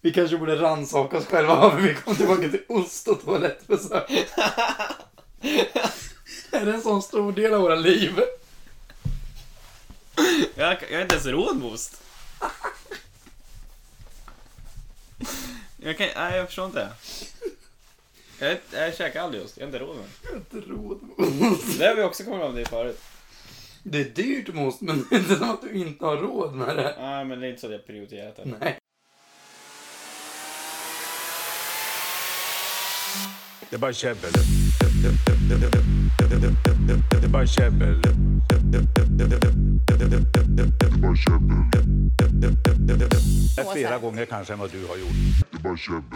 Vi kanske borde rannsaka oss själva varför vi kom tillbaka till ost och toalettbesök. Är det en sån stor del av våra liv? Jag, jag har inte ens råd med ost. Jag kan, nej, jag förstår inte. Jag, jag käkar aldrig ost, jag har inte råd med det. Jag har inte råd med ost. Det har vi också kommit fram till förut. Det är dyrt med ost, men det är inte som att du inte har råd med det. Nej, men det är inte så att jag prioriterat det. Nej. Det är bara käbbel. Det är bara käbbel. Det är Flera gånger kanske än vad du har gjort.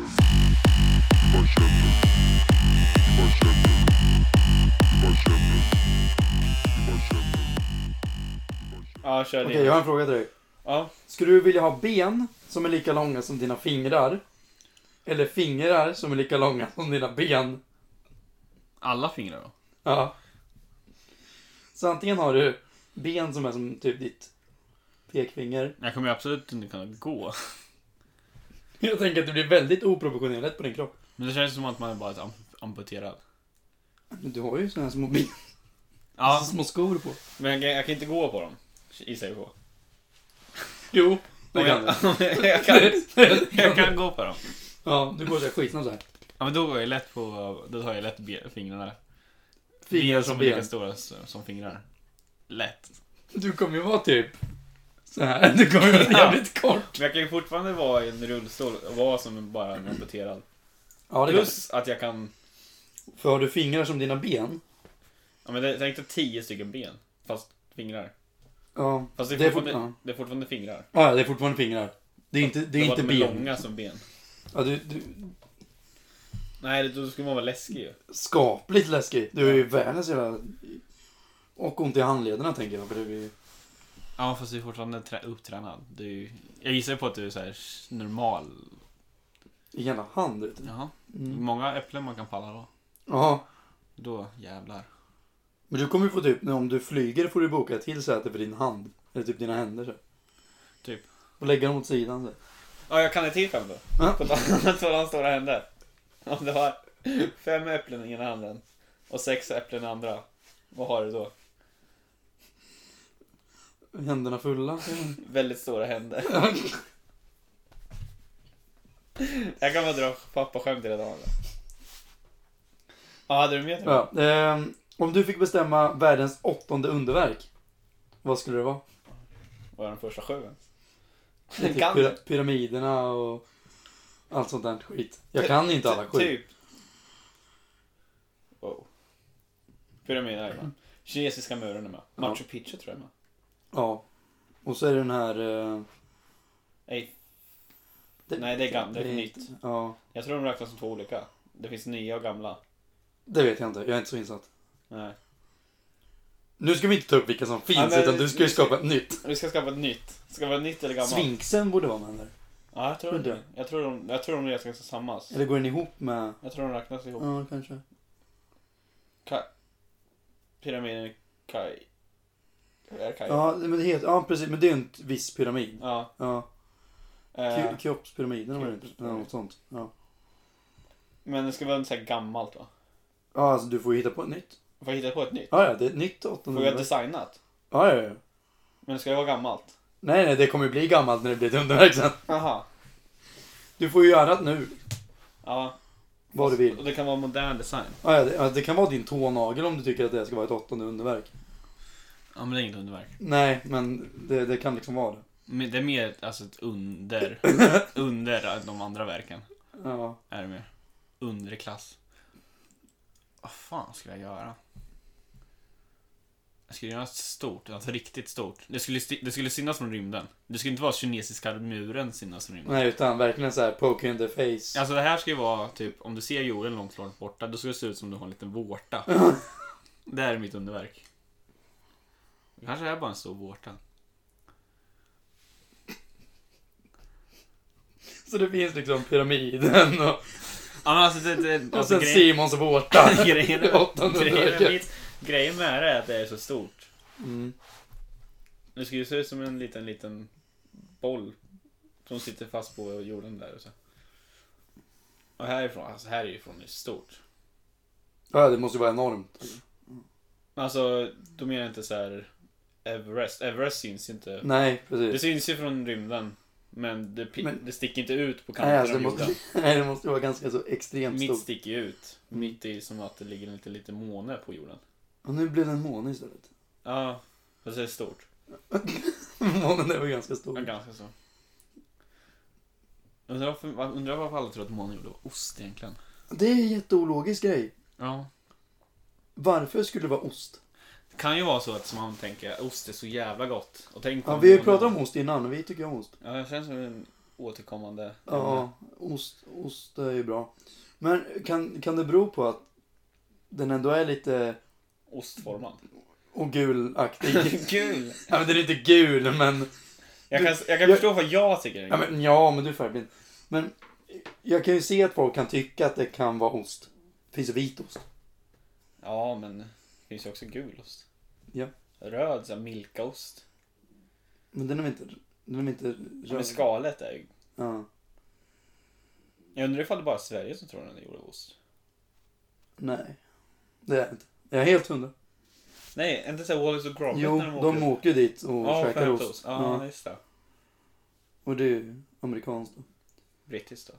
Ja, kör Okej, din. jag har en fråga till dig. Ja. Skulle du vilja ha ben som är lika långa som dina fingrar? Eller fingrar som är lika långa som dina ben? Alla fingrar då? Ja. Så antingen har du ben som är som typ ditt pekfinger. Jag kommer ju absolut inte kunna gå. Jag tänker att det blir väldigt oproportionerligt på din kropp. Men det känns som att man är bara ett am- amputerad. Men Du har ju såna här små ben, Ja, små skor på. men jag, kan- jag kan inte gå på dem. Gissar jag på. Jo, det Om kan du. jag, jag, kan, jag kan gå på dem. Ja, du går såhär skitsnabbt såhär. Ja, men då går jag lätt på, då tar jag lätt be- fingrarna. Fingrar som som är lika ben. stora s- som fingrar. Lätt. Du kommer ju vara typ så här. Du kommer ju vara jävligt kort. Men jag kan ju fortfarande vara i en rullstol och vara som bara en amputerad. Ja, det kan Plus att jag kan, du. För har du fingrar som dina ben? ja men det- tänk dig tio stycken ben. Fast fingrar. Ja. Fast det är, Det är fortfarande, fort- ja. det är fortfarande fingrar. Ja, det är fortfarande fingrar. Det är inte, det är bara inte att de är ben. långa som ben. Ja, du, du, Nej, då skulle man vara läskig ju. skapligt läskig. Du är ju världens jävla... Och ont i handlederna tänker jag. För du är ju... Ja, fast du är fortfarande trä- upptränad. Du, är ju- jag gissar på att du är så här normal. I ena hand vet du. Jaha. Mm. Många äpplen man kan falla då. Ja. Då jävlar. Men du kommer ju få typ, när- om du flyger får du boka ett till säte för din hand. Eller typ dina händer så. Typ. Och lägga dem åt sidan så. Ja, jag kan ett till skämt då. Ja. På tal om sådana stora händer. Om du har fem äpplen i ena handen och sex äpplen i andra, vad har du då? Händerna fulla. Väldigt stora händer. Jag kan bara dra pappaskämt hela dagen. Ja, hade du med det? ja. ehm, om du fick bestämma världens åttonde underverk. Vad skulle det vara? Var den första sju? ens? Det är typ Kan- pyra- pyramiderna och allt sånt där skit. Jag kan inte alla Ty- skit. Typ. Wow. Pyramiden är med. Kinesiska muren är med. Machu Picchu tror jag är med. Ja. Och så är det den här... eh, Nej, Nej, det är gam- det är nytt. Ja. jag tror de räknas som två olika. Det finns nya och gamla. Det vet jag inte, jag är inte så insatt. Nej. Nu ska vi inte ta upp vilka som finns, Ja, men- utan du ska ju skapa ett nytt. Vi ska skapa ett nytt. Ska det vara nytt eller gammalt? Svinksen borde vara med där. Ja, jag tror Tror du? det. Jag tror de, jag tror de räknas tillsammans. Eller går den ihop med... Jag tror de räknas ihop. Ja, kanske. Ka- pyramiden i Kai. Är Kai? Ja, men det heter... Ja, precis. Men det är en viss pyramid. Ja. Ja. Eh, Ke- Keopspyramiden var det inte. Ja, något sånt. Ja. men det ska vara så här gammalt va? ja, alltså du får ju hitta på ett nytt. Får jag hitta på ett nytt? Ja, ja, det är ett nytt Får jag 800. designat? Ja, ja, ja. Men det ska ju vara gammalt. Nej, nej, det kommer ju bli gammalt när det blir ett underverk sen. Aha. Du får ju göra det nu, Ja. vad du vill. Och det kan vara modern design. Ja, ja, det, ja, det kan vara din tånagel om du tycker att det ska vara ett åttonde underverk. Ja men det är inget underverk. Nej, men det, det kan liksom vara det. Men det är mer ett- alltså ett under. under de andra verken. Ja. Är det mer. Underklass. Vad fan skulle jag göra? Jag skulle göra något stort, något riktigt stort. Det skulle, sti- det skulle synas från rymden. Det skulle inte vara kinesiska muren synas från rymden. Nej, utan verkligen så här poke in the face. Alltså det här ska ju vara typ, om du ser jorden långt, långt borta, då ska det se ut som du har en liten vårta. det här är mitt underverk. Det kanske är bara en stor vårta. Så det finns liksom pyramiden och, Ja men alltså det... det och alltså, sen grejen, Simons vårta. grejen, Det åttonde grejen, med, underverket. grejen med det är att det är så stort. Mm. Det ska ju se ut som en liten, liten boll. Som sitter fast på jorden där. Och, så. och härifrån, alltså härifrån är stort. Ja, det måste ju vara enormt. Alltså, då menar jag inte så här Everest. Everest syns inte. Nej, Det precis. syns ju från rymden. Men det, pi- Men- det sticker inte ut på Nej, kanten alltså, av det, jorden. måste, nej, det måste ju vara ganska så extremt Mitt stort. Mm. sticker ju ut. Mitt är som att det ligger en liten, liten måne på jorden. Och nu blev det en måne istället. Ja, fast det är stort. Månen är väl ganska Ja, stor. ganska så. Undrar varför, var- undrar varför alla tror att månen gjorde av ost egentligen. Det är en jätteologisk grej. Ja. Varför skulle det vara ost? Det kan ju vara så att som man tänker, ost är så jävla gott. Och tänk Ja, om vi har ju månen- pratat om ost innan och vi tycker om ost. Ja, jag känns som en återkommande... ämne. Ja, ost, ost är ju bra. Men kan, kan det bero på att den ändå är lite Ostformad. och gulaktig? Kul! ja, men den är inte gul, men... Jag kan, jag kan jag- förstå vad jag tycker är Ja, men, ja, men du är färgblind. Men jag kan ju se att folk kan tycka att det kan vara ost. Det finns vit ost. Ja, men det finns ju också gulost. Ja. Röd, såhär milkaost. Men den är väl inte... Den är väl inte Ja, men skalet är ju... ja. Jag undrar ifall det bara är Sverige som tror att den är gjord av ost. Nej. Det är det inte. Jag är helt hundra. Nej, inte såhär Wallace och Gromit Jo, när de åker. de åker ju dit och Ja, käkar för ost. ost. Ja, Ja. just det. Och det är ju amerikanskt då. Brittiskt då.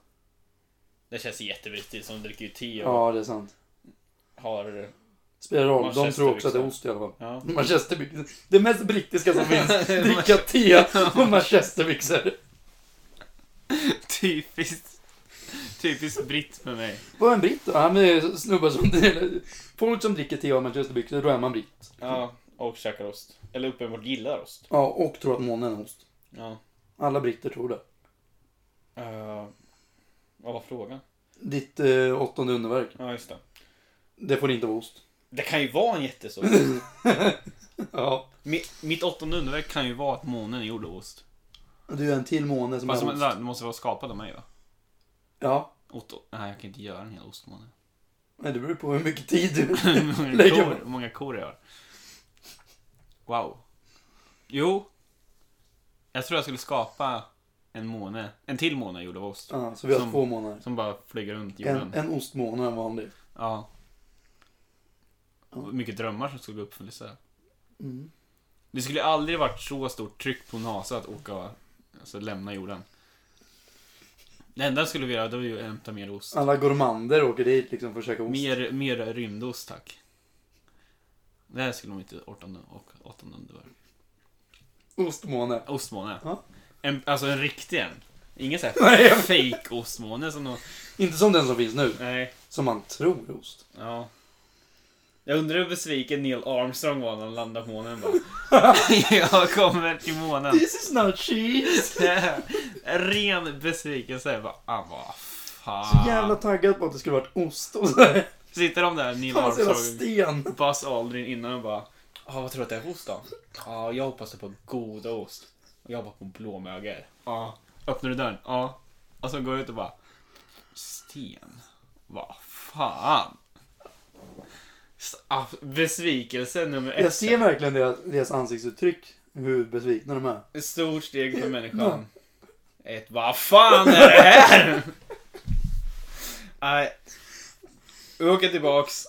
Det känns jättebrittiskt. De dricker ju te och Ja, det är sant. har... Spelar roll. De Manchester liksom. tror också att det är också. ost i alla fall. Ja. Manchesterbyxor. Det mest brittiska som finns. Dricka te och manchesterbyxor. Typiskt. Typiskt britt för mig. Vad är en britt då? Han är snubbar som... Folk som dricker te och manchesterbyxor, då är man britt. Ja, och käkar ost. Eller uppenbart gillar ost. Ja, och tror att månen är en ost. Ja. Alla britter tror det. Eh, vad var frågan? Ditt eh, åttonde underverk. Ja, just det. Det får inte vara ost. Det kan ju vara en jättestor. Ja. mitt, mitt åttonde underverk kan ju vara att månen är gjord av ost. Du är en till måne som Fast är som, ost. det måste vara skapad av mig va? Ja. Otto. Nej, jag kan inte göra en hel ostmåne. Nej, det beror på hur mycket tid du... Hur många Lägger kor, man. hur många kor jag har. Wow. Jo. Jag tror jag skulle skapa en måne. En till måne gjord av ost. Ja, så vi har Som- två månader. Som bara flyger runt jorden. En, en ostmåne och en vanlig. Ja. Ja. Mycket drömmar som skulle gå i uppfyllelse. Mm. Det skulle aldrig varit så stort tryck på NASA att åka, alltså lämna jorden. Det enda jag skulle vilja göra, det var ju att hämta mer ost. Alla gourmander åker dit liksom för att käka ost. Mer, mer rymdost, tack. Det här skulle nog inte åttonde och åttonde underverk. Ostmåne. Ostmåne. Ja. En, alltså en riktig en. Ingen sån Nej, här jag- fake ostmåne som någon... Inte som den som finns nu, Nej. som man tror är ost. Ja. Jag undrar hur besviken Neil Armstrong var när han landade på månen bara. jag kommer till månen. This is not cheese! Ren besvikelse. Jag bara, ah, vad Så fan. jävla taggad på att det skulle varit ost och sådär. Sitter de där, Neil Fan vad så jävla Armstrong, sten. Buzz Aldrin innan och bara, ah, vad tror du att det är för ost då? ah, jag hoppas det är på god ost. Och jag bara på blåmögel. ah, öppnar du dörren? Ja. Och så går jag ut och bara, sten. Vad fan. S- ah, Besvikelse nummer ett. Jag ser verkligen deras, deras ansiktsuttryck, hur besvikna de är. Ett stort steg för människan. Ett vad fan är det här? Nej. Vi åker tillbaks,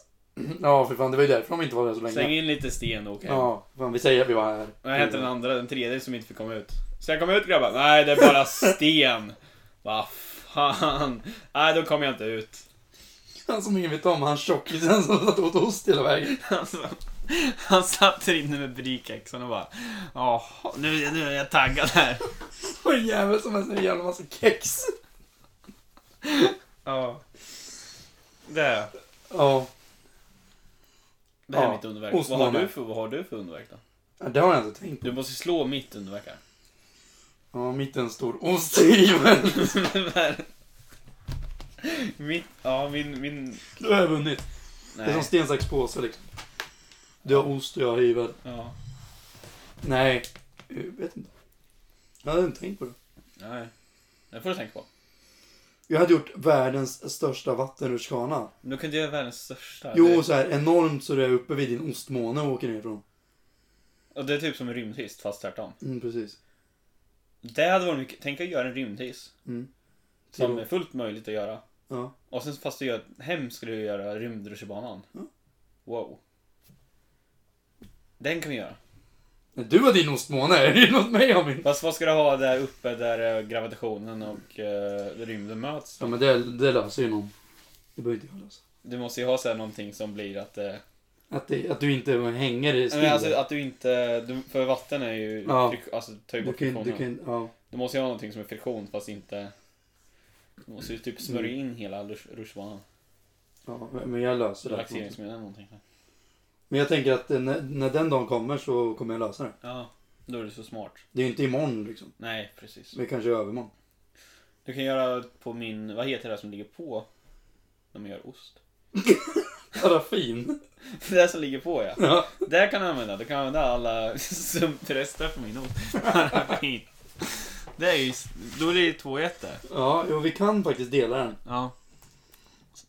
Ja, för fan, det var ju därför de inte var där så länge. släng in lite sten och åk hem. Ja, fan, vi säger att vi var här. Vad hette den andra, den tredje som inte fick komma ut? Ska jag komma ut grabbar? Nej, det är bara sten. Vad fan. Nej, då kommer jag inte ut. Han som ingen vet om, han tjockisen som satt och åt ost hela vägen. Alltså, han satt där inne med brikexan och bara Jaha, nu, nu är jag taggad här. Och en jävel som äter en jävla massa kex. Ja. Det. Ja, Det här är Ja, mitt underverk. Vad har, ostmåne. du för, vad har du för underverk då? det har jag inte tänkt på. Du måste slå mitt underverk här. Ja, mitt är en stor ost i men Mitt, ja min, min... Då har jag vunnit. Det är som Nej. sten, sax, påse liksom. Du har ost och jag har hyvel. Ja. Nej, jag vet inte. Jag hade inte tänkt på det. Nej. Det får du tänka på. Jag hade gjort världens största vattenrutschkana. Men då kan du göra världens största. Jo, så här enormt så du är uppe vid din ostmåne och åker nerifrån. det, och det är typ som en rymdhist fast tvärtom. Mm, precis. Det hade varit mycket. Tänk att göra en rymdhiss. Mm. Som Jo. är fullt möjligt att göra. Ja. Och sen fast du gör hem skulle du göra rymdrutschbanan. Ja. Wow. Den kan vi göra. Men Du har din ostmåne, är det något mig har min? Fast vad ska du ha där uppe där eh, gravitationen och eh, rymden möts? Ja men det, det löser ju någon. Det behöver inte jag lösa. Du måste ju ha så här någonting som blir att... Eh, Att, det, att du inte hänger i stilen. men alltså att du inte... Du, för vatten är ju... Ja. Frik, alltså tar ju du bort kan, friktionen. du kan, ja. Du måste ju ha någonting som är friktion fast inte... Du måste ju Mm. typ smörja in hela rush- rutschbanan. ja, men jag löser det. här. Laxeringsmedel eller någonting. Men jag tänker att eh, när, när den dagen kommer så kommer jag lösa det. Ja, då är du så smart. Det är ju inte imorgon liksom. Nej, precis. Men kanske i övermorgon. Du kan göra på min... Vad heter det som ligger på? När man gör ost. Paraffin. Det där som ligger på ja. Ja. Det kan du använda. Du kan använda alla sumprester på min ost. Paraffin. Det är ju... Då blir det två jätte. Ja, jo, vi kan faktiskt dela den. Ja.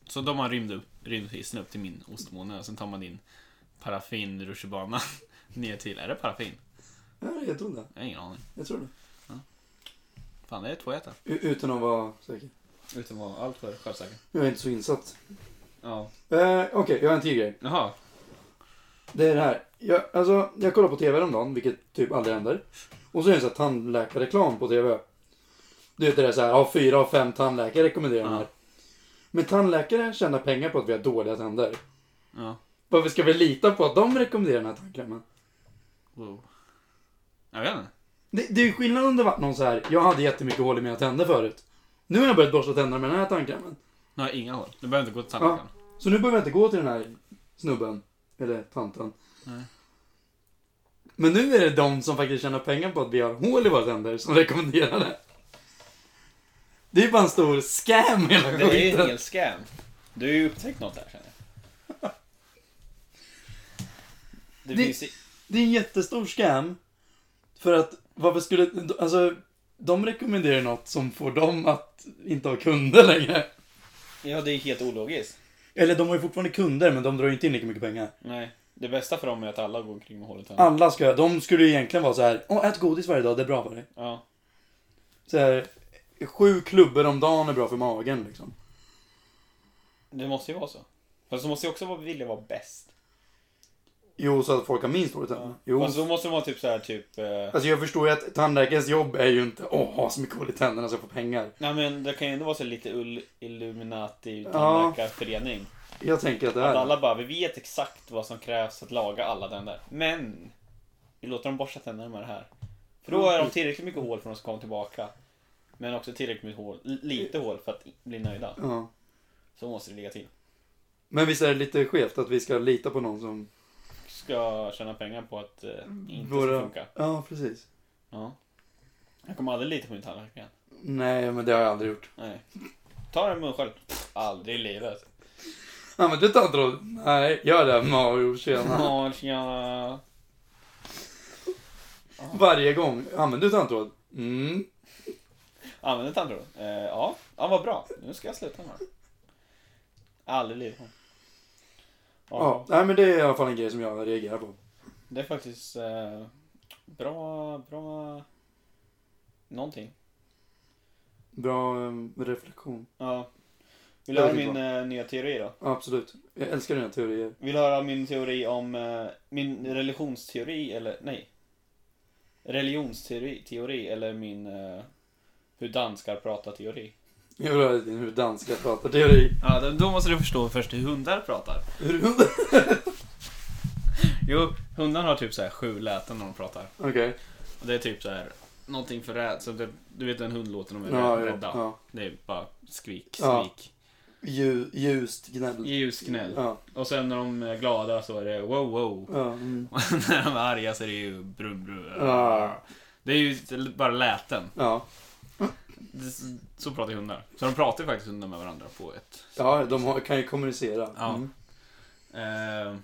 Så de har rymd upp, rymdhissen upp till min ostmåne och sen tar man din paraffinrutschbana ner till... Är det paraffin? Ja, jag tror det. Jag har ingen aning. Jag tror det. Fan, det är två jätte. U- utan att vara säker. Utan att vara alltför självsäker. Jag är inte så insatt. Ja. Eh, Okej, jag har en till grej. Jaha. Det är det här. Jag, alltså, jag kollade på TV häromdagen, vilket typ aldrig händer. Och så är det en sån här tandläkarreklam på TV. Du vet det där så här, ja, fyra av fem tandläkare rekommenderar den här. Ja. Men tandläkare tjänar pengar på att vi har dåliga tänder. Ja. Varför ska vi lita på att de rekommenderar den här tandkrämen? Wow. Jag vet inte. Det, det är ju skillnad om det var någon så här, jag hade jättemycket hål i mina tänder förut. Nu har jag börjat borsta tänderna med den här tandkrämen. Nu har jag inga hål. Du behöver inte gå till tandläkaren. Så nu behöver jag inte gå till den här snubben. Eller tanten. Nej. Men nu är det de som faktiskt tjänar pengar på att vi har hål i våra tänder som rekommenderar det. Det är ju bara en stor scam hela Det är ju en skiten. hel scam. Du har ju upptäckt något här känner jag. Det, Det- finns ju... Det är en jättestor scam. För att varför skulle... Alltså, de rekommenderar något som får dem att inte ha kunder längre. Ja, det är helt ologiskt. Eller de har ju fortfarande kunder men de drar ju inte in lika mycket pengar. Nej. Det bästa för dem är att alla går omkring med hål i tänderna. Alla ska, de skulle ju egentligen vara så här, åh ät godis varje dag, det är bra för dig. Ja. Så här, sju klubbor om dagen är bra för magen liksom. Det måste ju vara så. Fast de måste ju också vara- vilja vara bäst. Jo, så att folk har minst dåligt tänder. Jo. Fast då måste de vara typ så här typ... Eh... Alltså jag förstår ju att tandläkarens jobb är ju inte, åh ha så mycket hål i tänderna så jag får pengar. Nej men det kan ju ändå vara så lite ull- Illuminati Ja. tandläkarförening. Jag tänker att det Att är alla bara, vi vet exakt vad som krävs för att laga alla tänder. Men! Vi låter dem borsta tänderna med det här. För då är de tillräckligt mycket hål för att de ska komma tillbaka. Men också tillräckligt mycket hål, li- lite hål för att bli nöjda. Ja. Så måste det ligga till. Men visst är det lite skevt att vi ska lita på någon som... Ska tjäna pengar på att eh, inte Mm. Våra- ska funka. Ja, precis. Ja. Jag kommer aldrig lita på min tandläkare igen. Nej, men det har jag aldrig gjort. Nej. Ta den munskölj. Aldrig i livet. Ja, men du tar inte då- Nej, gör det Mario, tjena. Ja, tjena. Varje gång. Använder du tandtråd? Mm. Använder tandtråd? Eh, ja. ja, vad bra. Nu ska jag sluta med det. Aldrig i livet. Ja, nej men det är i alla fall en grej som jag reagerar på. Det är faktiskt eh, bra, bra någonting. Bra eh, reflektion. Ja. Vill Det du höra låter min eh, nya teori då? Ja, Absolut. Jag älskar dina teorier. Vill du höra min teori om eh, min religionsteori eller nej? Religionsteori teori, eller min eh, hur danskar pratar teori? Jag vill höra din hur danska pratar teori. Ja, då- då måste du förstå först hur hundar pratar. Hur- Jo, hundar har typ så här sju läten när de pratar. Okej. Och det är typ så här någonting för rädsla. Du- Du vet en hund låter när de är Ja, ja, rädda. ja. Det är bara skrik, Ja. skrik. Ljus, ljust gnäll. Ljusknäll. Ja, Och sen när de är glada så är det wow wow. ja, mm. Och när de är arga så är det ju brum brum. Ja. Det är ju bara läten. ja. Det- Så pratar ju hundar. Så de pratar ju faktiskt hundar med varandra på ett... ja de har, kan ju kommunicera. Ja. Mm. Eh,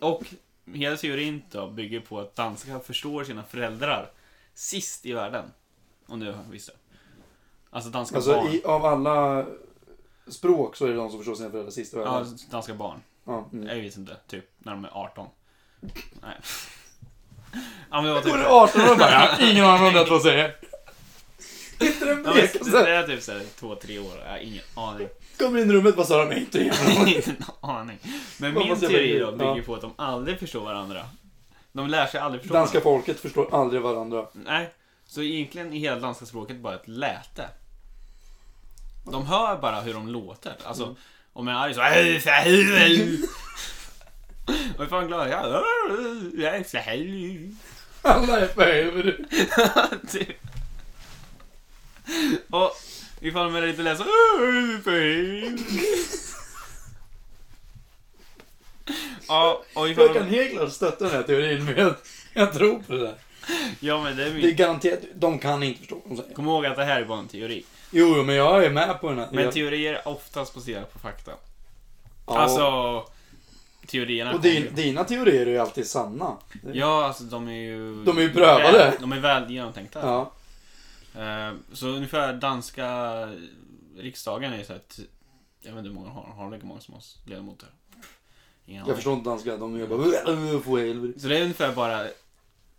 och hela teorin då bygger på att danskar förstår sina föräldrar sist i världen. Om du visste. Alltså danska Alltså barn. i, av alla språk så är det de som förstår sina föräldrar sist i Ja, världen. danska barn. Ja. Mm. Jag vet inte. Typ när de är 18. Nej. Ja, men typ- det var typ... Går det 18 år bara? Ingen aning om det vad säger. inte den Ja, men det blekaste. är typ såhär två, tre år. Jag har ingen aning. Kommer in i rummet vad sa de? Nej, inte igen. Ingen aning. Men Vad min måste jag teori lägga då in? bygger Ja. på att de aldrig förstår varandra. De lär sig aldrig förstå Danska folket förstår aldrig varandra. varandra. Nej. Så egentligen är hela danska språket bara ett läte. De hör bara hur de låter. Alltså, om jag är arg så... Och är fan glad. Jag jag är så här. Alla är för helvete. Typ. Och ifall man är lite ledsen Ja, och ifall Jag kan man... helt klart stötta den här teorin med att jag tror på det där. Ja men det är Det är min... garanterat, de kan inte förstå vad de säger. Kom ihåg att det här är bara en teori. Jo, jo, men jag är med på den här. Men Jag- teorier är oftast baserade på fakta. ja. Alltså... Teorierna Och kommer din, ju- dina teorier är ju alltid sanna. Ja, alltså de är ju... De är ju prövade. Väl, de är väl genomtänkta. Ja. Eh, Så ungefär danska riksdagen är så att... Jag vet inte hur många de har. Har de lika många som oss ledamöter? Ingen aning. Jag förstår inte danska. De är bara... Få helvete. Så det är ungefär bara,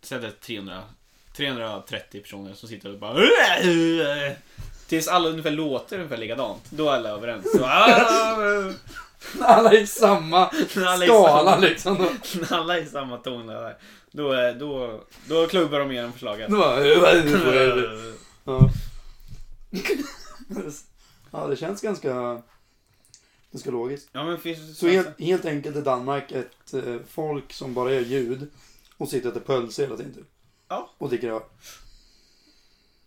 säg att det är 300, 330 personer som sitter och bara Tills alla ungefär låter ungefär likadant. Då är alla överens. Så, "Ah, Alla är i samma Alla är i skala samma. liksom. De- när alla är i samma tonläge. Då, är- då, då klubbar de igenom förslaget. de bara- Få helvete. Ja. ja, det känns ganska, ganska logiskt. Ja men finns Så helt, helt enkelt är Danmark ett eh, folk som bara är ljud och sitter och äter pölse hela tiden. typ. Ja. Och dricker öl.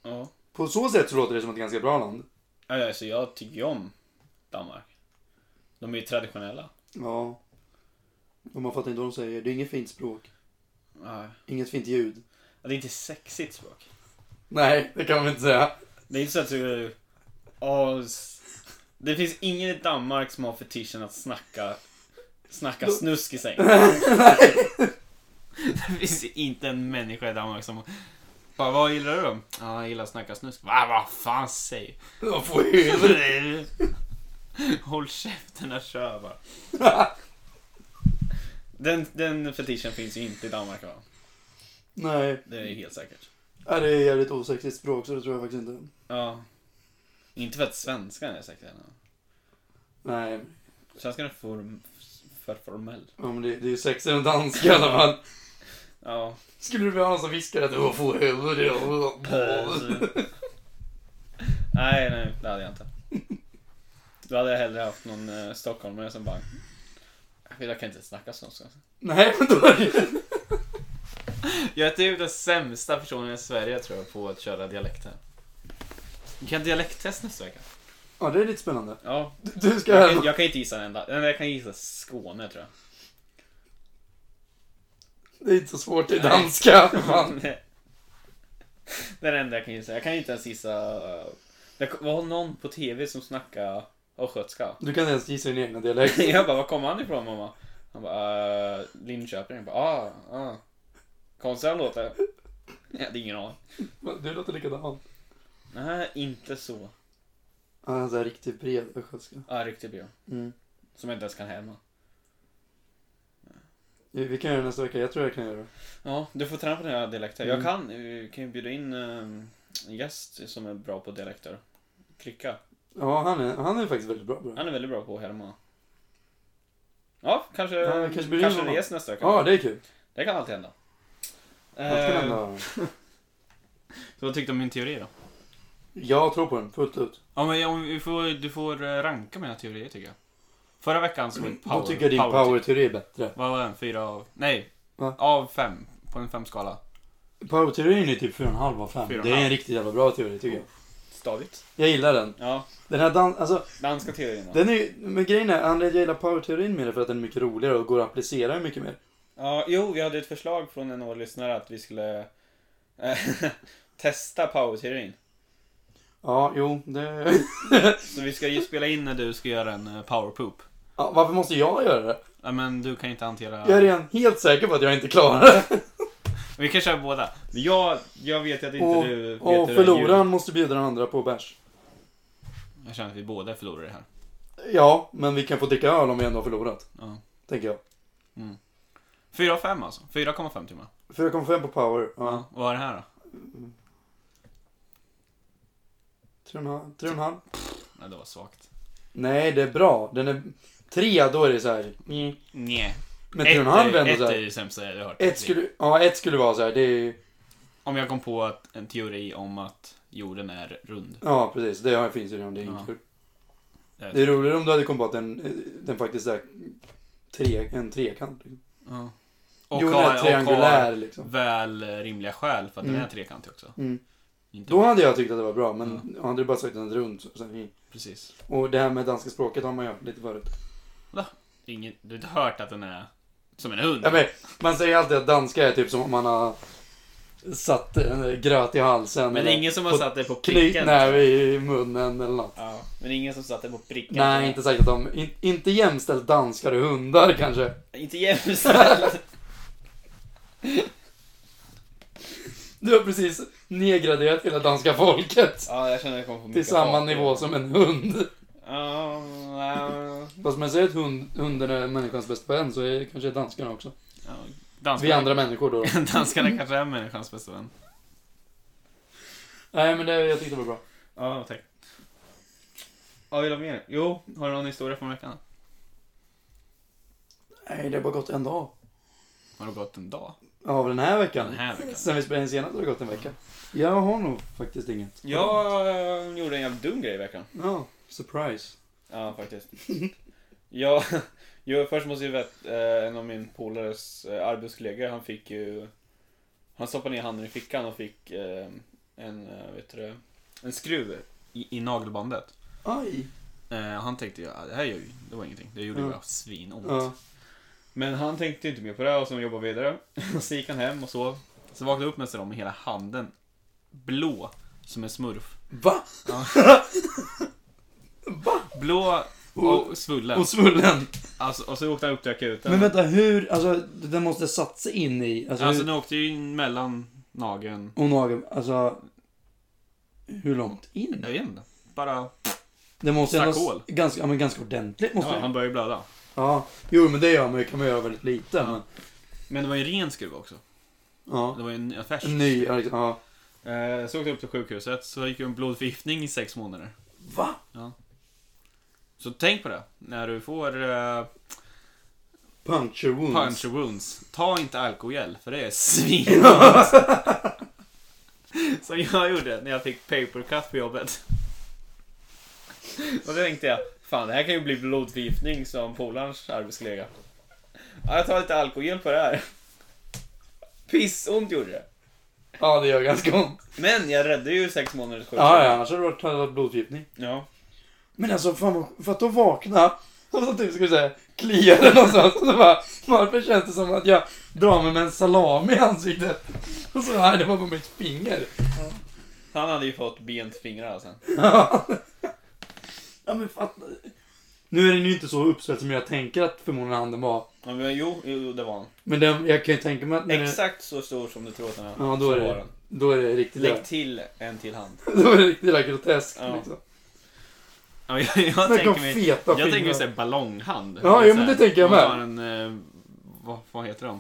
Ja. På så sätt så låter det som ett ganska bra land. Ja, Alltså jag tycker ju om Danmark. De är ju traditionella. Ja. Och man fattar inte vad de säger. Det är inget fint språk. Ja, Inget fint ljud. Det är inte sexigt språk. Nej, det kan man inte säga. Det är inte så att du... Åh, s- det finns ingen i Danmark som har fetischen att snacka, snacka snusk i säng. det finns inte en människa i Danmark som... Bara, vad gillar du då? Ja, jag gillar att snacka snusk. Va, vad fan säger Jag får helvete. du? Håll käften och kör bara. Den, den fetischen finns ju inte i Danmark va? Nej, Det är ju helt säkert. Ja, det är jävligt osexigt språk så det tror jag faktiskt inte. Ja. Inte för att svenskan är säkert än. Nej, Svenskan är form, för formell. ja, men det, det är ju sexigare än danska i alla fall. Ja. Skulle du vilja ha någon som viskar att du får helvete? nej, nej, det hade jag inte. Då hade jag hellre haft någon eh, stockholmare som bara... "Jag vet, Jag kan inte snacka svenska. Nej, men då är det Jag är typ den sämsta personen i Sverige tror jag på att köra dialekter. Vi kan dialekttest nästa vecka. Ja, det är lite spännande. Ja, Du- Du ska jag kan, här. jag kan inte gissa en enda. Nej, Jag kan gissa Skåne tror jag. Det är inte så svårt i danska. Fan. Nej. Det är det enda jag kan gissa. Jag kan inte ens gissa... eh, Det var någon på TV som snackade östgötska. Du kan inte ens gissa din egna dialekt. Jag bara, var kom han ifrån mamma? Han bara, äh, Linköping. Jag bara, ah, ah. Konstigt han låter. Jag hade ingen aning. Du låter likadan. Nej, inte så. Ja, Han är såhär riktigt bred östgötska. Ja, riktigt bra. Mm. Som jag inte ens kan härma. Vi vi kan göra det nästa vecka. Jag tror jag kan göra det. Ja, du får träna på dina dialekter. Jag Mm. kan, eh, kan ju bjuda in ehm, en gäst som är bra på dialekter. Kricka. Ja, han är, han är faktiskt väldigt bra på det. Han är väldigt bra på att härma. Ja, kanske, Ja, kanske kanske, bjuder in kanske honom. res nästa vecka. Ja, det är kul. Det kan alltid hända. Allt kan Eh, hända. så vad tyckte du om min teori då? Jag tror på den fullt ut. Ja, men om vi får, du får eh, ranka mina teorier tycker jag. Förra veckan så var det power. Då tycker jag din power- typ. power-teori är bättre. Vad var den? Fyra av... Nej. Va? Av fem. På en femskala. Power-teorin är typ 4,5 av 5. Fyra och Det är en en halv. riktigt jävla bra teori tycker jag. Stadigt. Jag gillar den. Ja, Den här dans... Alltså, danska teorin då. Den är ju, men grejen är, anledningen jag gillar power-teorin mer är för att den är mycket roligare och går att applicera mycket mer. Ja, jo, vi hade ett förslag från en av våra lyssnare att vi skulle eh, testa power-teorin. Ja, jo, det... Så vi ska ju spela in när du ska göra en eh, power-poop. Ja, varför måste jag göra det? Nej, men du kan ju inte hantera... Jag är redan helt säker på att jag inte klarar det. Vi kan köra båda. Men jag, jag vet ju att inte Och, du vet och hur det är ljud. förloraren måste bjuda den andra på bärs. Jag känner att vi båda är förlorare här. Ja, men vi kan få dricka öl om vi ändå har förlorat. Ja. mm. Tänker jag. Fyra av fem alltså. 4,5 timmar. 4,5 på power. Ja. Vad är det här då? Tre och en halv- tre och en halv. Nej, det var svagt. Nej, det är bra. Den är... Tre, då är det så här. mm. Nej. Men tre och en halv är ändå Ett så är här. det sämsta jag har hört. Ett skulle, ja, ett skulle vara så här. Det är, Om jag kom på att, en teori om att jorden är rund. ja, precis. Det har- finns ju redan. Det är Ja. inte kul. Det- Det är roligare om du hade kommit på att den, den faktiskt är tre, en trekant. Liksom. Ja. Och Och jo, den har, är triangulär och har liksom. väl rimliga skäl för att den Mm. är trekantig också. Mm. Inte Då hade jag tyckt att det var bra, men hade du bara sagt den runt så... så här, mm. Precis. Och det här med danska språket har man ju hört lite förut. Ingen, du har inte hört att den är som en hund? Ja, men, man säger alltid att danska är typ som om man har satt en gröt i halsen. Men det är ingen som har på- satt det på pricken? Knytnäve i munnen eller något. Ja, men det är ingen som satt det på pricken? Nej, inte säkert att de... In, inte jämställt danskar och hundar kanske. Inte jämställd. Du har precis nedgraderat hela danska folket. ja, jag känner att jag kommer få mycket Till samma hat. nivå som en hund. Ja, ja, Fast man säger att hund, hunden är människans bästa vän så är kanske danskarna också. ja. Vi Danskarna, andra människor då. danskarna kanske är människans bästa vän. Nej, men det, jag tyckte det var bra. Ja, tack. Ja, vill du ha mer? Jo, har du någon historia från veckan? Nej, det har bara gått en dag. Har det gått en dag? Av den här veckan. Den här veckan? Sen vi spelade in senast har det gått en vecka. Jag har nog faktiskt inget. Jag eh, gjorde en jävligt dum grej i veckan. Ja, surprise. Ja, faktiskt. Jag, jag först måste jag veta, eh, en av min polares eh, arbetskollegor, han fick ju... Han stoppade ner handen i fickan och fick eh, en, eh, vet du det, en skruv i, i nagelbandet. Aj! Eh, han tänkte ju, "Ah, det här gör ju, det var ingenting, det gjorde ju Ja. bara svinont. Ja. Men han tänkte ju inte mer på det och så jobbade vidare. Så gick han hem och sov. Så vaknade jag upp med sig dem med hela handen blå som en smurf. Va? Blå och svullen. Och svullen. Alltså, och så åkte han upp till akuten. Men vänta, hur? Alltså, den måste ha satt sig in i... Alltså, Alltså hur, den åkte ju in mellan nageln. och nageln. Alltså... Hur långt in? Jag vet inte. Bara... Det måste ju Stack ändå... hål. s- Ganska, ja, men ganska ordentligt måste Ja, det. han började blöda. Ja. Jo, men det gör man ju. kan man göra väldigt lite. Ja. Men, Men det var ju en ren skruv också. ja. Det var ju en färsk. En ny, ja, liksom, ja. Eh, så åkte jag upp till sjukhuset, så gick jag en blodförgiftning i sex månader. Va? Så tänk på det, när du får eh, Puncture wounds. punch wounds, ta inte alkogel, för det är svin. Som jag gjorde när jag fick paper cut på jobbet. Och då tänkte jag, fan det här kan ju bli blodförgiftning som polarns arbetskollega. Ja, jag tar lite alkogel på det här. Pissont gjorde det. Ja, det gör ganska ont. Men jag räddade ju sex månaders sjukdom. Ja, ja, annars hade det varit kallad blodförgiftning. ja. Men alltså, fan, vad- för att då vakna och så typ ska vi säga kliar det någonstans och så bara, varför känns det som att jag drar mig med en salami i ansiktet? Och så, nej, det var på mitt finger. Han hade ju fått bent fingrar alltså. sen. ja, men fatta. Nu är den ju inte så uppställd som jag tänker att förmodligen handen var. Ja, men jo, jo, det var han. Men den, jag kan ju tänka mig att när den, Exakt så stor som du tror att den är. Ja, då så är det- var den. då är det riktigt Lägg jävla, till en till hand. då är det riktigt jävla groteskt Ja. liksom. Ja, jag, jag Snacka om tänker mig... feta Jag tänker mig fingrar. såhär ballonghand. Ja, Eller jo, men det såhär, tänker jag man med. tar En, eh, vad, vad heter de?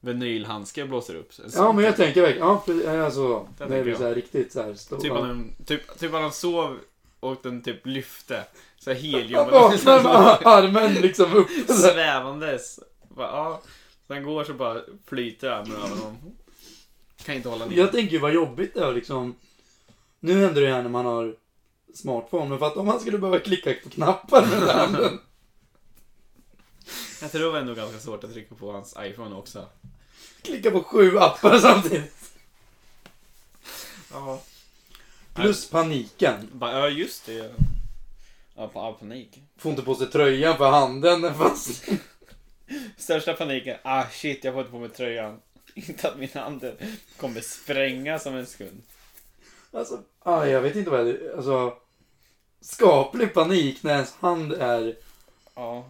Vinylhandske blåser upp. Så- typ- Ja, men jag tänker verkligen, ja, precis, alltså, det är tänker väl jag. så här riktigt så här stora. Typ att han, typ, typ att han sov och den typ lyfte. Såhär helium. Jag vaknar med armen liksom uppe så här. Svävandes. Bara, ja. Så han går så bara flyter armen över honom. Kan inte hålla ner. Jag tänker ju vad jobbigt det är liksom. Nu händer det här när man har smartphone, men för att om man skulle behöva klicka på knappar med handen. Jag tror det var ändå ganska svårt att trycka på hans iPhone också. klicka på sju appar samtidigt. Ja. Plus paniken. Bara, ja, just det. Ja, pa- ja, panik. Får inte på sig tröjan för handen är fast. Största paniken. Ah, shit, jag får inte på mig tröjan. Inte att min hand kommer sprängas om en sekund. Alltså, ah, jag vet inte vad det är. Alltså, skaplig panik när ens hand är Ja.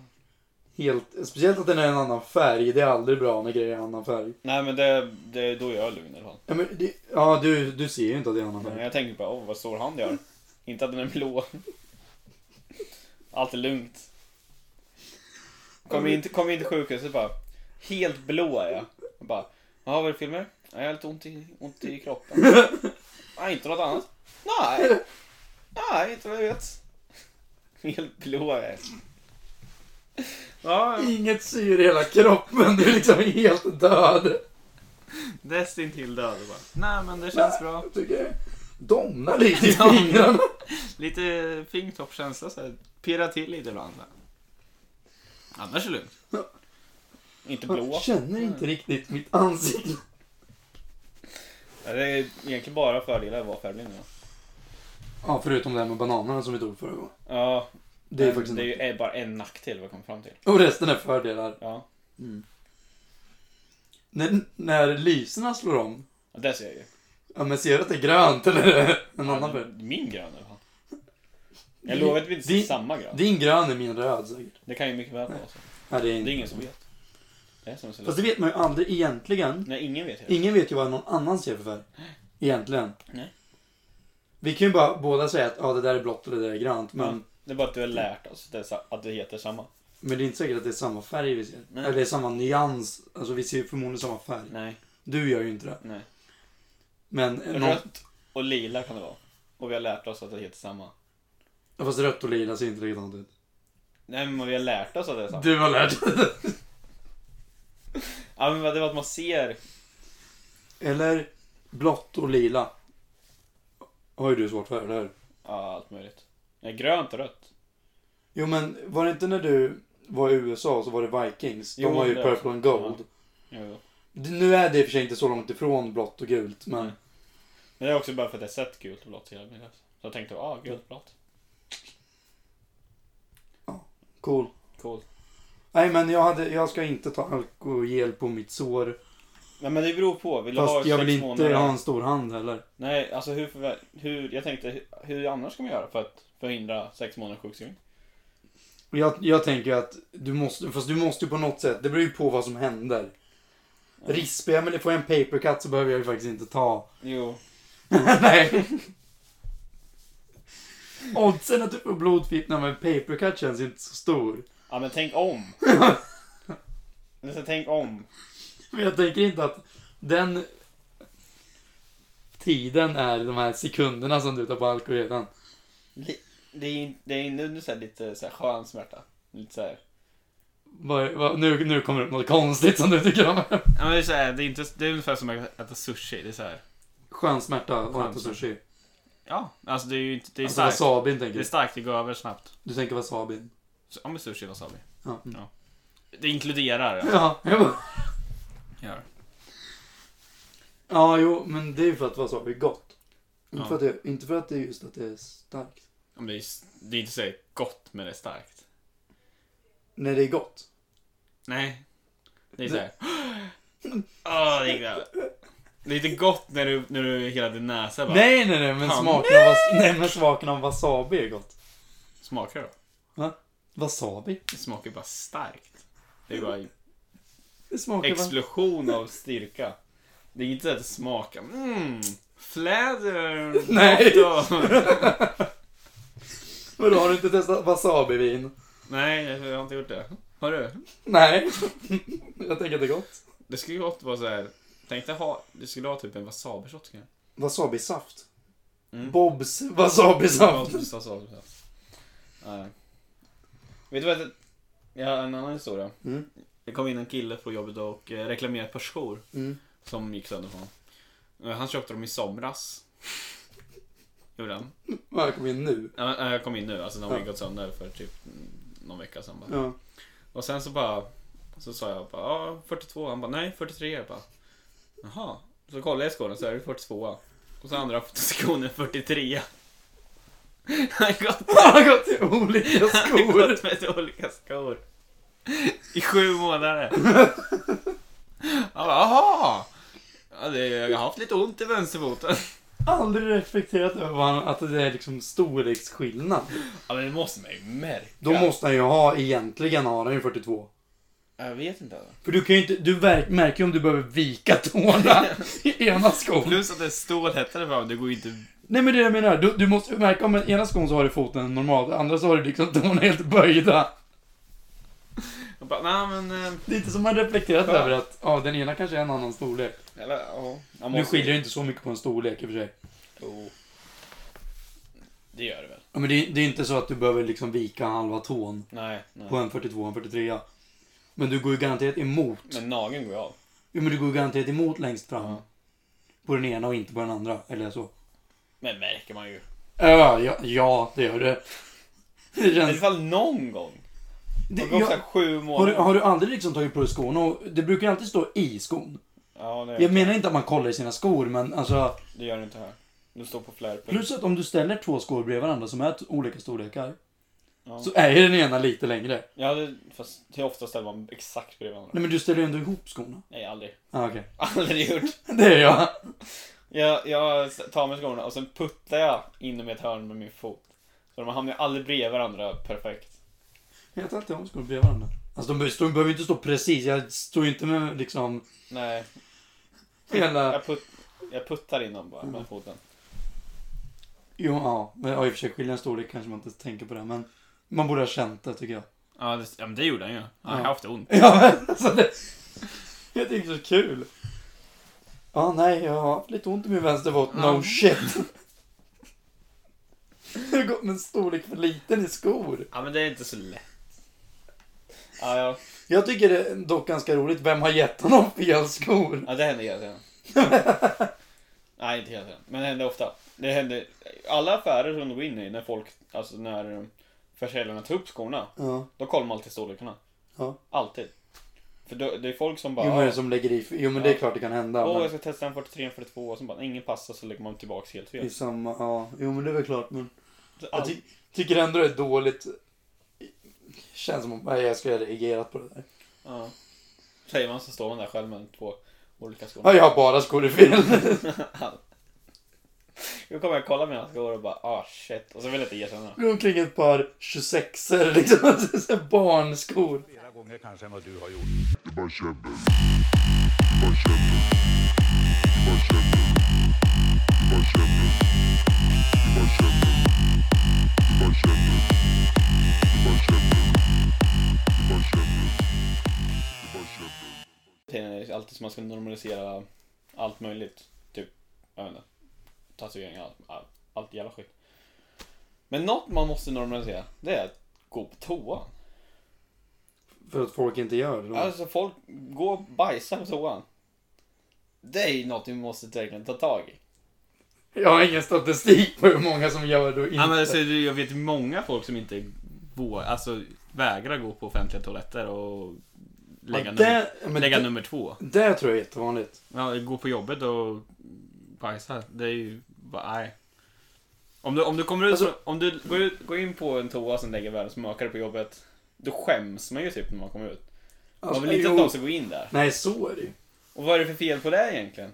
helt... Speciellt att den är en annan färg. Det är aldrig bra när grejer är en annan färg. Nej, men det, det, då är jag lugn i alla fall. Ja, men det, ja du, du ser ju inte att det är en annan Men färg. jag tänker bara, åh, vad stor hand jag har. Inte att den är blå. Allt är lugnt. Kommer in, till- kom in till sjukhuset bara. Helt blå är jag. Och Bara, jaha, vad är det för filmer? Ja, jag har lite ont i, ont i kroppen. Nej, inte något annat. Nej. Nej, inte vad jag vet. Helt blå är jag. Ja, Inget syre i hela kroppen. Du är liksom helt död. nästintill död. och bara, Nej, men det känns bra. Jag tycker jag domnar lite i Ja. fingrarna. Lite fingertoppskänsla så här. Pirra till lite ibland. så här. Annars är det lugnt. Inte blå. Jag känner inte riktigt mitt ansikte. Ja, Det är egentligen bara fördelar att vara färgblind. va? Ja, förutom det här med bananerna som vi tog förra gången. Ja, Det är faktiskt det är en... ju är bara en nackdel vi kom fram till. Och resten är fördelar. Ja, När, när lyserna slår om, och det ser jag ju. ja men ser du att det är grönt eller är det en annan färg? Min grön eller vad? Jag Din- lovar att vi inte ser din- samma grön. Din grön är min röd säkert. Det kan ju mycket väl vara så. Nej, det är Det är inte. ingen som vet. Det är som så Fast det vet man ju aldrig egentligen. Nej, ingen vet helt. Ingen vet ju vad någon annan ser för färg. Egentligen. Nej. Vi kan ju bara båda säga att ja, det där är blått och det där är grönt. Men, Ja. Det är bara att du har lärt oss det, är sa- att det heter samma. men det är inte säkert att det är samma färg vi ser. Nej. Eller det är samma nyans. Alltså vi ser ju förmodligen samma färg. Nej, Du gör ju inte det. nej. Men någon, Rött och lila kan det vara. Och vi har lärt oss att det heter samma. fast rött och lila ser inte likadant ut. Nej, men vi har lärt oss att det är samma. Du har lärt dig. Ja, men vad- det var att man ser. Eller blått och lila. Har ju du svårt för, eller hur? Ja, allt möjligt. Ja, grönt och rött. Jo men var det inte när du var i USA så var det Vikings? De Jo, har ju det- purple and gold. Jo. Det- Nu är det i och för sig inte så långt ifrån blått och gult men Nej. Men det är också bara för att jag sett gult och blått hela mitt liv. Så jag tänkte, ah, gult och blått. cool. Cool. Nej men jag, hade, jag ska inte ta alkogel på mitt sår. Nej, men det beror på. Vill du ha Fast jag vill sex inte månader? ha en stor hand heller. Nej, alltså hur, förvä- hur, jag tänkte, hur annars ska man göra för att förhindra sex månaders sjukskrivning? Jag, jag tänker att du måste, fast du måste ju på något sätt, det beror ju på vad som händer. Rispar jag mig, får jag en papercut så behöver jag ju faktiskt inte ta Jo. Nej. Oddsen att du får blodfippa med en papercut känns inte så stor. Ja, men tänk om. Men så tänk om. Men jag tänker inte att den tiden är de här sekunderna som du tar på alkoholen. Li- Det är, in- det är nu så här lite så här skön smärta. Lite så här. Vad- vad- Nu, nu kommer det upp något konstigt som du tycker om. Ja, men det är, så här, det är, inte, det är ungefär som att äta sushi. Det är så här. Skön smärta och Skön äta sushi. Ja, alltså det är ju inte, det är Alltså starkt. wasabin tänker Det är du. starkt, det går över snabbt. Du tänker wasabin. Så- Ja, men sushi och wasabi. Ja. Ja. Det inkluderar. Ja. Ja, jag bara, Ja. ja, jo, men det är ju för att wasabi är gott. Inte, Ja. för att det, inte för att det är just att det är starkt. Men det, är, s- det är inte så här gott, men det är starkt. Nej, det är gott. Nej. Det är såhär... Åh, det gick där. Det är inte gott när du, när du hela din näsa bara Nej, nej, nej, men Fan, smaken, av, was- nej, men smaken av wasabi är gott. smakar då. Wasabi? Det smakar bara starkt. Det är bara en Det smakar va- explosion av styrka. Det är inte så att det smakar mm, fläder, Nej. gott och- Vadå, har du inte testat wasabi-vin? Nej, jag har inte gjort det. Har du? Nej. Jag tänker att det är gott. Det skulle ju gott vara såhär... Tänk dig ha... Du skulle ha typ en wasabi-shot kanske. Wasabi-saft. Mm. Bobs wasabi-saft. Ja, precis, så, precis. Nej. Vet du vad? Jag har en annan historia. Mm. Det kom in en kille på jobbet och eh, reklamerade ett par skor Mm. som gick sönder på honom. Eh, Han köpte dem i somras. Gjorde han. Ja, Jag kom in nu. Ja, men, eh, Jag kom in nu, alltså de har ju Ja. gått sönder för typ mm, någon vecka sedan. Bara. Ja. Och sen så bara, så sa jag bara, ja 42, han bara nej 43, jag bara, jaha. Så kollade jag i skålen så är det 42. Och så andra positionen 43. Han har gått Han har gått i olika Jag har skor. gått med olika skor. I sju månader. Han bara, jaha! Ja, det, jag har haft lite ont i vänsterfoten. Aldrig reflekterat över vad han- att det är liksom storleksskillnad. Ja, men det måste man ju märka. Då måste han ju ha, egentligen har han ju 42. Jag vet inte. För du kan ju inte, du verk, märker ju om du behöver vika tårna i ena skon. Plus att det är stålhättare fram, det går ju inte... Nej men det jag menar, du, du måste ju märka om en- ena skon så har du foten normalt, andra så har du liksom tårna helt böjda. Jag bara, nej men... eh, Det är inte som man reflekterat Ja. över att ja, den ena kanske är en annan storlek. Eller, ja. man Nu måste- skiljer det inte så mycket på en storlek i och för sig. Jo. Oh. Det gör det väl? Ja, men det, är- det är inte så att du behöver liksom vika halva tån Nej, nej. på en 42 och en 43. Men du går ju garanterat emot. Men nageln går ju av. Jo, men du går ju garanterat emot längst fram. Ja. På den ena och inte på den andra. Eller så. Men märker man ju. Ja, ja, ja det gör det. Det I alla känns... fall någon gång. Det Det, har gått jag, såhär sju har, du, månader. har du aldrig liksom tagit på dig skon? Och det brukar ju alltid stå i skon. Ja, det, Jag menar inte att man kollar i sina skor, men alltså... det gör du inte här. Du står på flärpen. Plus att om du ställer två skor bredvid varandra som är t- olika storlekar. Ja. Så är ju den ena lite längre. Ja, det, fast det är oftast där man exakt bredvid varandra. Nej men du ställer ju ändå ihop skorna. Nej, aldrig. Ah, okej. Aldrig gjort. Det är jag. Jag, jag tar med skorna och sen puttar jag inom ett hörn med min fot. Så de hamnar ju aldrig bredvid varandra perfekt. Jag tar alltid om skor bredvid varandra. Alltså de, behöver- de behöver ju inte stå precis. Jag står ju inte med liksom Nej, hela... jag, put, jag puttar in dem bara Mm. med foten. Jo, ja. Men ja, i och för sig skiljer en storlek kanske man inte tänker på det. Men man borde ha känt det tycker jag. Ja, det, ja men det gjorde han ju. Han har Ja. haft ont. Ja men alltså det... Jag tycker det är så kul. Ja nej, jag har haft lite ont i min vänsterfot. No Ja. shit. Jag har gått med en storlek för liten i skor. Ja, men det är inte så lätt. Ja, ja. Jag tycker det är dock ganska roligt. Vem har gett honom fel skor? ja det händer hela tiden. Nej, inte hela tiden. Men det händer ofta. Det händer alla affärer som du går in i när folk, alltså när eh, försäljarna tar upp skorna. Ja. Då kollar man alltid storlekarna. Ja. Alltid. För då, det är folk som bara... Jo men det är som lägger i. Jo men det är Ja. klart det kan hända. Åh, men jag ska testa en 43 en 42 och så bara, ingen passar så lägger man tillbaks helt det är fel. samma, liksom, ja. Jo men det är väl klart men. Så Jag allt- ty- tycker ändå det är dåligt. Känns som att nej, jag skulle ha reagerat på det där. ja. Säger man så står man där själv med två olika skor. Ja, jag har bara skor i fel. Då kommer jag kolla mina skor och bara, ah shit. Och så vill jag inte erkänna. Går omkring ett par 26er liksom. Så här Barnskor. Flera gånger kanske än vad du har gjort. Bara käbbel. Bara käbbel. Bara käbbel. Bara käbbel. Bara käbbel. Bara käbbel. Bara käbbel. Bara käbbel. Bara käbbel. Tiden är alltid som man ska normalisera allt möjligt. Typ, jag vet inte. Tatueringar, allt, allt, allt jävla skit. Men något man måste normalisera, det är att gå på toa. För att folk inte gör det. då. Alltså folk går och bajsar på toan. Det är ju något vi måste verkligen ta tag i. Jag har ingen statistik på hur många som gör det och Ja, men alltså, inte. jag vet många folk som inte vågar, alltså vägrar gå på offentliga toaletter och lägga, Ja, nummer, det- men lägga det- nummer två. Det tror jag är jättevanligt. Ja, gå på jobbet och bajsa. Det är ju bara, nej. Om du, om du, kommer ut, Alltså- om du går, ut, går in på en toa som lägger världens mökare på jobbet, då skäms man ju typ när man kommer ut. Alltså, man vill inte jo. att någon ska gå in där. Nej, så är det ju. Och vad är det för fel på det egentligen?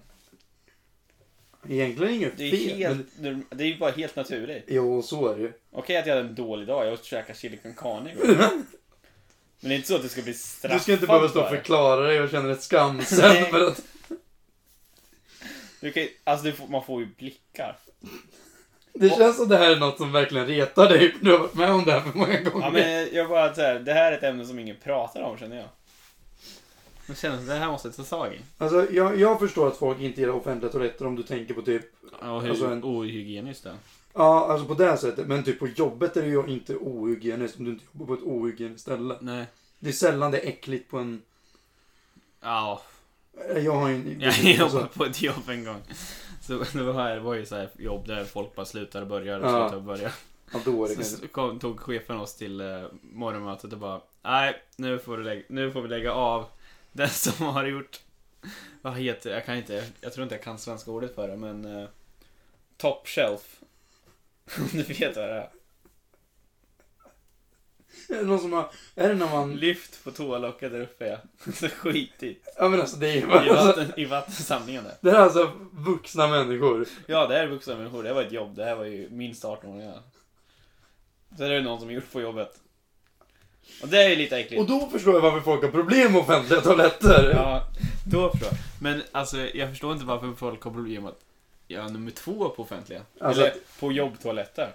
Egentligen inget Det är fel. ju Men, helt, det är ju bara helt naturligt. jo, så är det ju. Okej att jag hade en dålig dag, jag åt käka chili con carne igår. Men det är inte så att du ska bli straffad Du ska inte behöva stå och för det. förklara dig och känna dig skamsen Nej. för att... Du kan, ju- alltså du får, man får ju blickar. Det känns som det här är något som verkligen retar dig. Du har varit med om det här för många gånger. Ja men jag bara så här, det här är ett ämne som ingen pratar om känner jag. Men känner att det här måste jag ta tag i. Alltså, jag, jag förstår att folk inte gillar offentliga toaletter om du tänker på typ... Ja, hur Alltså en- ohygieniskt det Ja, alltså på det här sättet. Men typ på jobbet är det ju inte ohygieniskt om du inte jobbar på ett ohygieniskt ställe. Nej. Det är sällan det är äckligt på en... Ja, Jag har ju en... jag jobbade alltså, på ett jobb en gång. Så det var, här, det var ju så här jobb där folk bara slutar och börjar och Ja. slutar och börjar. ja, då är det kanske... Så kom, tog chefen oss till eh, morgonmötet och bara Nej, nu får, du lägga, nu får vi lägga av den som har gjort Vad heter Jag kan inte, jag tror inte jag kan svenska ordet för det men eh, Top shelf Om du vet vad det är Är det någon som har... Är det när man... Lyft på toalocket där uppe ja. Så skitigt Ja men alltså det är ju... I, Alltså, vatten, i vattensamlingen där det här är alltså vuxna människor. Ja, det här är vuxna människor, det här var ett jobb, det här var ju minst 18 år ja. Så det är någon som gjort på jobbet Och det är ju lite äckligt Och då förstår jag varför folk har problem med offentliga toaletter. Ja, då förstår jag. Men alltså, jag förstår inte varför folk har problem med att göra nummer två på offentliga. Alltså- Eller på jobbtoaletter.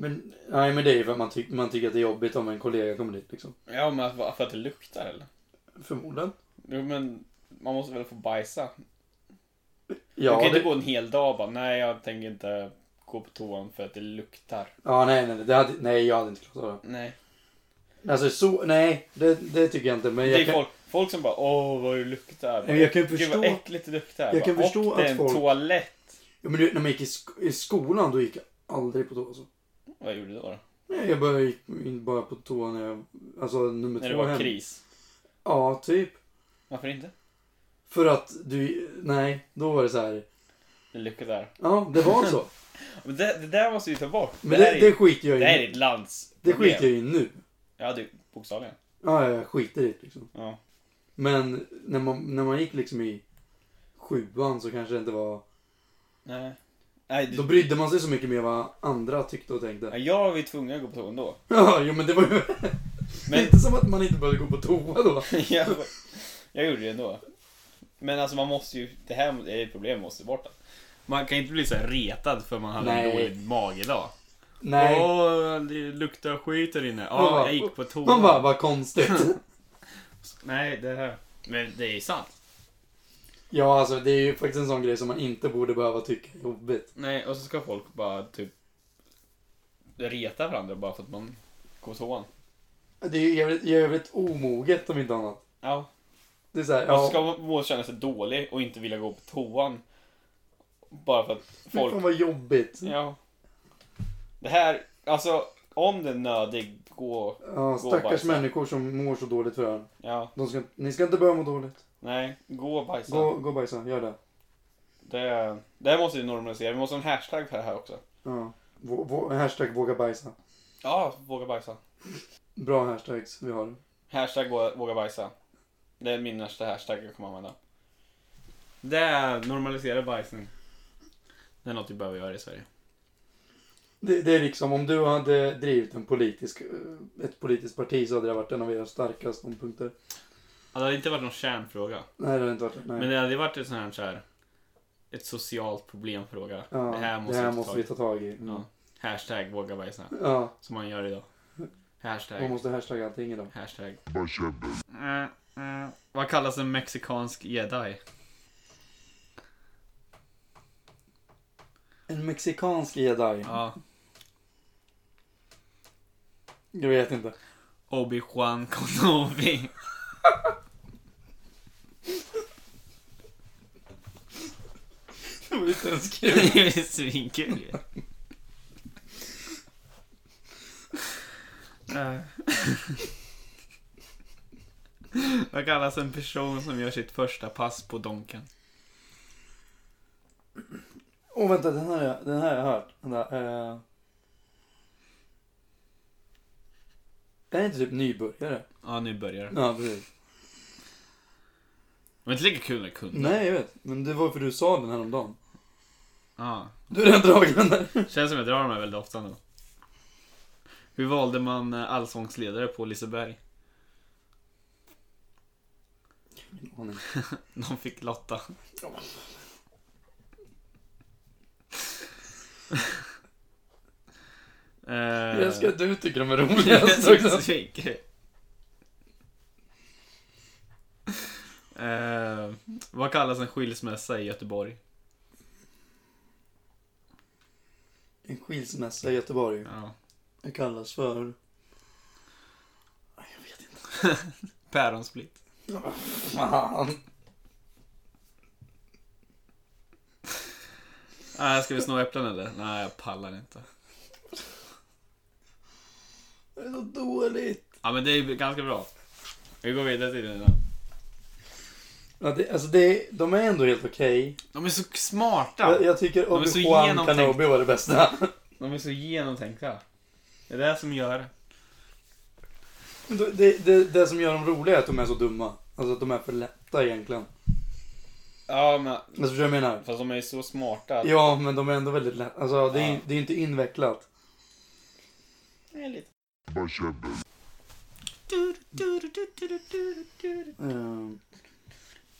Men, nej men det är ju för att man, ty- man tycker att det är jobbigt om en kollega kommer dit liksom. Ja, men att- för att det luktar eller? Förmodligen. Jo, men man måste väl få bajsa. Ja, du kan det, inte gå en hel dag och bara, nej jag tänker inte gå på toan för att det luktar. Ja, nej, nej, det hade, nej, jag hade inte klarat av Nej. det. Alltså så, nej, det, det tycker jag inte. Men Det jag är kan, folk, folk som bara åh vad det luktar. Nej, jag kan ju Gud vad förstå- äckligt det luktar. jag kan Bara, förstå och det är att en folk- toalett. ja, men du, när man gick i, sk- i skolan, då gick jag aldrig på toa. Alltså. Vad gjorde du då? då? Nej, jag bara gick in bara på toa när jag, alltså nummer När två det var hem. kris. Ja, typ. Varför inte? För att du, nej, då var det så här. Det luktar. Ja, det var så. Men det, det där måste vi ta bort. Men där det, är, det skiter jag det här i. är nu. ett lands Det skiter jag i nu. Ja, det, bokstavligen. Ja, jag skiter i det liksom. Ja. Men när man, när man gick liksom i sjuan så kanske det inte var... Nej. Nej, du, Då brydde man sig så mycket mer vad andra tyckte och Ja, tänkte. jag var ju tvungen att gå på toan då. Ja, jo men det var ju... Det är Men inte som att man inte började gå på toa då. jag, jag gjorde det ändå. Men alltså man måste ju, det här är ett problem måste bort. Man kan inte bli så här retad för man hade Nej. en dålig mag idag. Nej. Åh, det luktar skit här inne. Man Ja, bara- jag gick på toan. Man bara, vad konstigt. Nej, det här. Men det är sant. Ja, alltså det är ju faktiskt en sån grej som man inte borde behöva tycka är jobbigt. Nej, och så ska folk bara typ reta varandra bara för att man går på toan. Det är ju jävligt, jävligt omoget om inte annat. Ja. Det är såhär, Och så ja. ska man må känna sig dålig och inte vilja gå på toan. Bara för att Fy folk fan vad jobbigt. Ja. Det här, alltså om det är nödigt, gå. Ja, och stackars bajsa. människor som mår så dåligt för det här. Ja, De ska, ni ska inte börja må dåligt. nej, gå och bajsa. Gå, gå och bajsa, gör det. Det, det här måste vi normalisera, vi måste ha en hashtag för det här också. Ja. Vå, vå, hashtag våga bajsa. Ja, våga bajsa. Bra hashtags vi har. Hashtag våga, våga bajsa. Det är min nästa hashtag jag kommer använda. Det är normalisera bajsning. Det är något vi behöver göra i Sverige. Det, det är liksom om du hade drivit en politisk, eh, ett politiskt parti så hade det varit en av era starka ståndpunkter. Ja, det hade inte varit någon kärnfråga. Nej det hade inte varit det. Nej. Men det hade varit ett sånt här, så här ett socialt problemfråga. ja, det här måste, vi ta tag vi i. ta tag i. Mm. Ja. Hashtag våga bajsa. Ja, Som man gör idag. Hashtag. man måste hashtagga allting idag. Hashtag. Eh, Başardım. Vad kallas en mexikansk jedi? En mexikansk jedi. Ja. Jag vet inte. Obi-Wan Kenobi. Det var inte ens Det är svinkul ju. Eh. Vad kallas en person som gör sitt första pass på Donken? Åh oh, vänta, den här, har jag- den här har jag hört. Vänta, eh... Den är inte typ nybörjare? Ja, nu börjar det. Ja, precis. Men inte lika kul när kunder. Nej, jag vet. Men det var för du sa den här om dagen. Ja. Du har redan dragit den där. Känns som jag drar de här väldigt ofta nu. Hur valde man eh, allsångsledare på Liseberg? Ingen aning. De fick Lotta. Eh, Jag älskar att du tycker de är det är roligast så också. svinkul. Eh, vad kallas en skilsmässa i Göteborg? En skilsmässa i Göteborg. Ja. Det kallas för... Nej, Jag vet inte. Päronsplitt. Fan. Ah, ska vi snå äpplen eller? Nej, jag pallar inte. Det är så dåligt. Ja, men det är ju ganska bra. Vi går vidare till dina. Ja, det, alltså det, de är ändå helt okej. De är så smarta! Jag, jag tycker är så Obi-Wan genomtänkt. Kenobi var det bästa. De är så genomtänkta. Det är det som gör det. Men då- Det, det, det som gör dem roliga är att de är så dumma. Alltså att de är för lätta egentligen. Ja, men Alltså förstår du vad jag menar? fast de är ju så smarta. att- Ja, men de är ändå väldigt lätta. Alltså det är, Ja. det är inte invecklat. Nej, lite. Başardım. Ehm,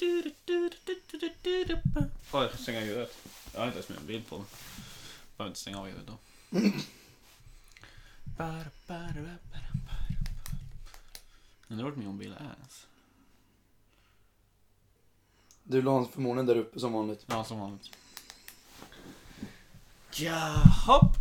Oj, jag ska stänga av ljudet. Jag har inte ens min bild på mig. Behöver inte stänga av ljudet då. Undrar vart min bil är ens. du la förmodligen där uppe som vanligt. Ja, som vanligt. Jaha.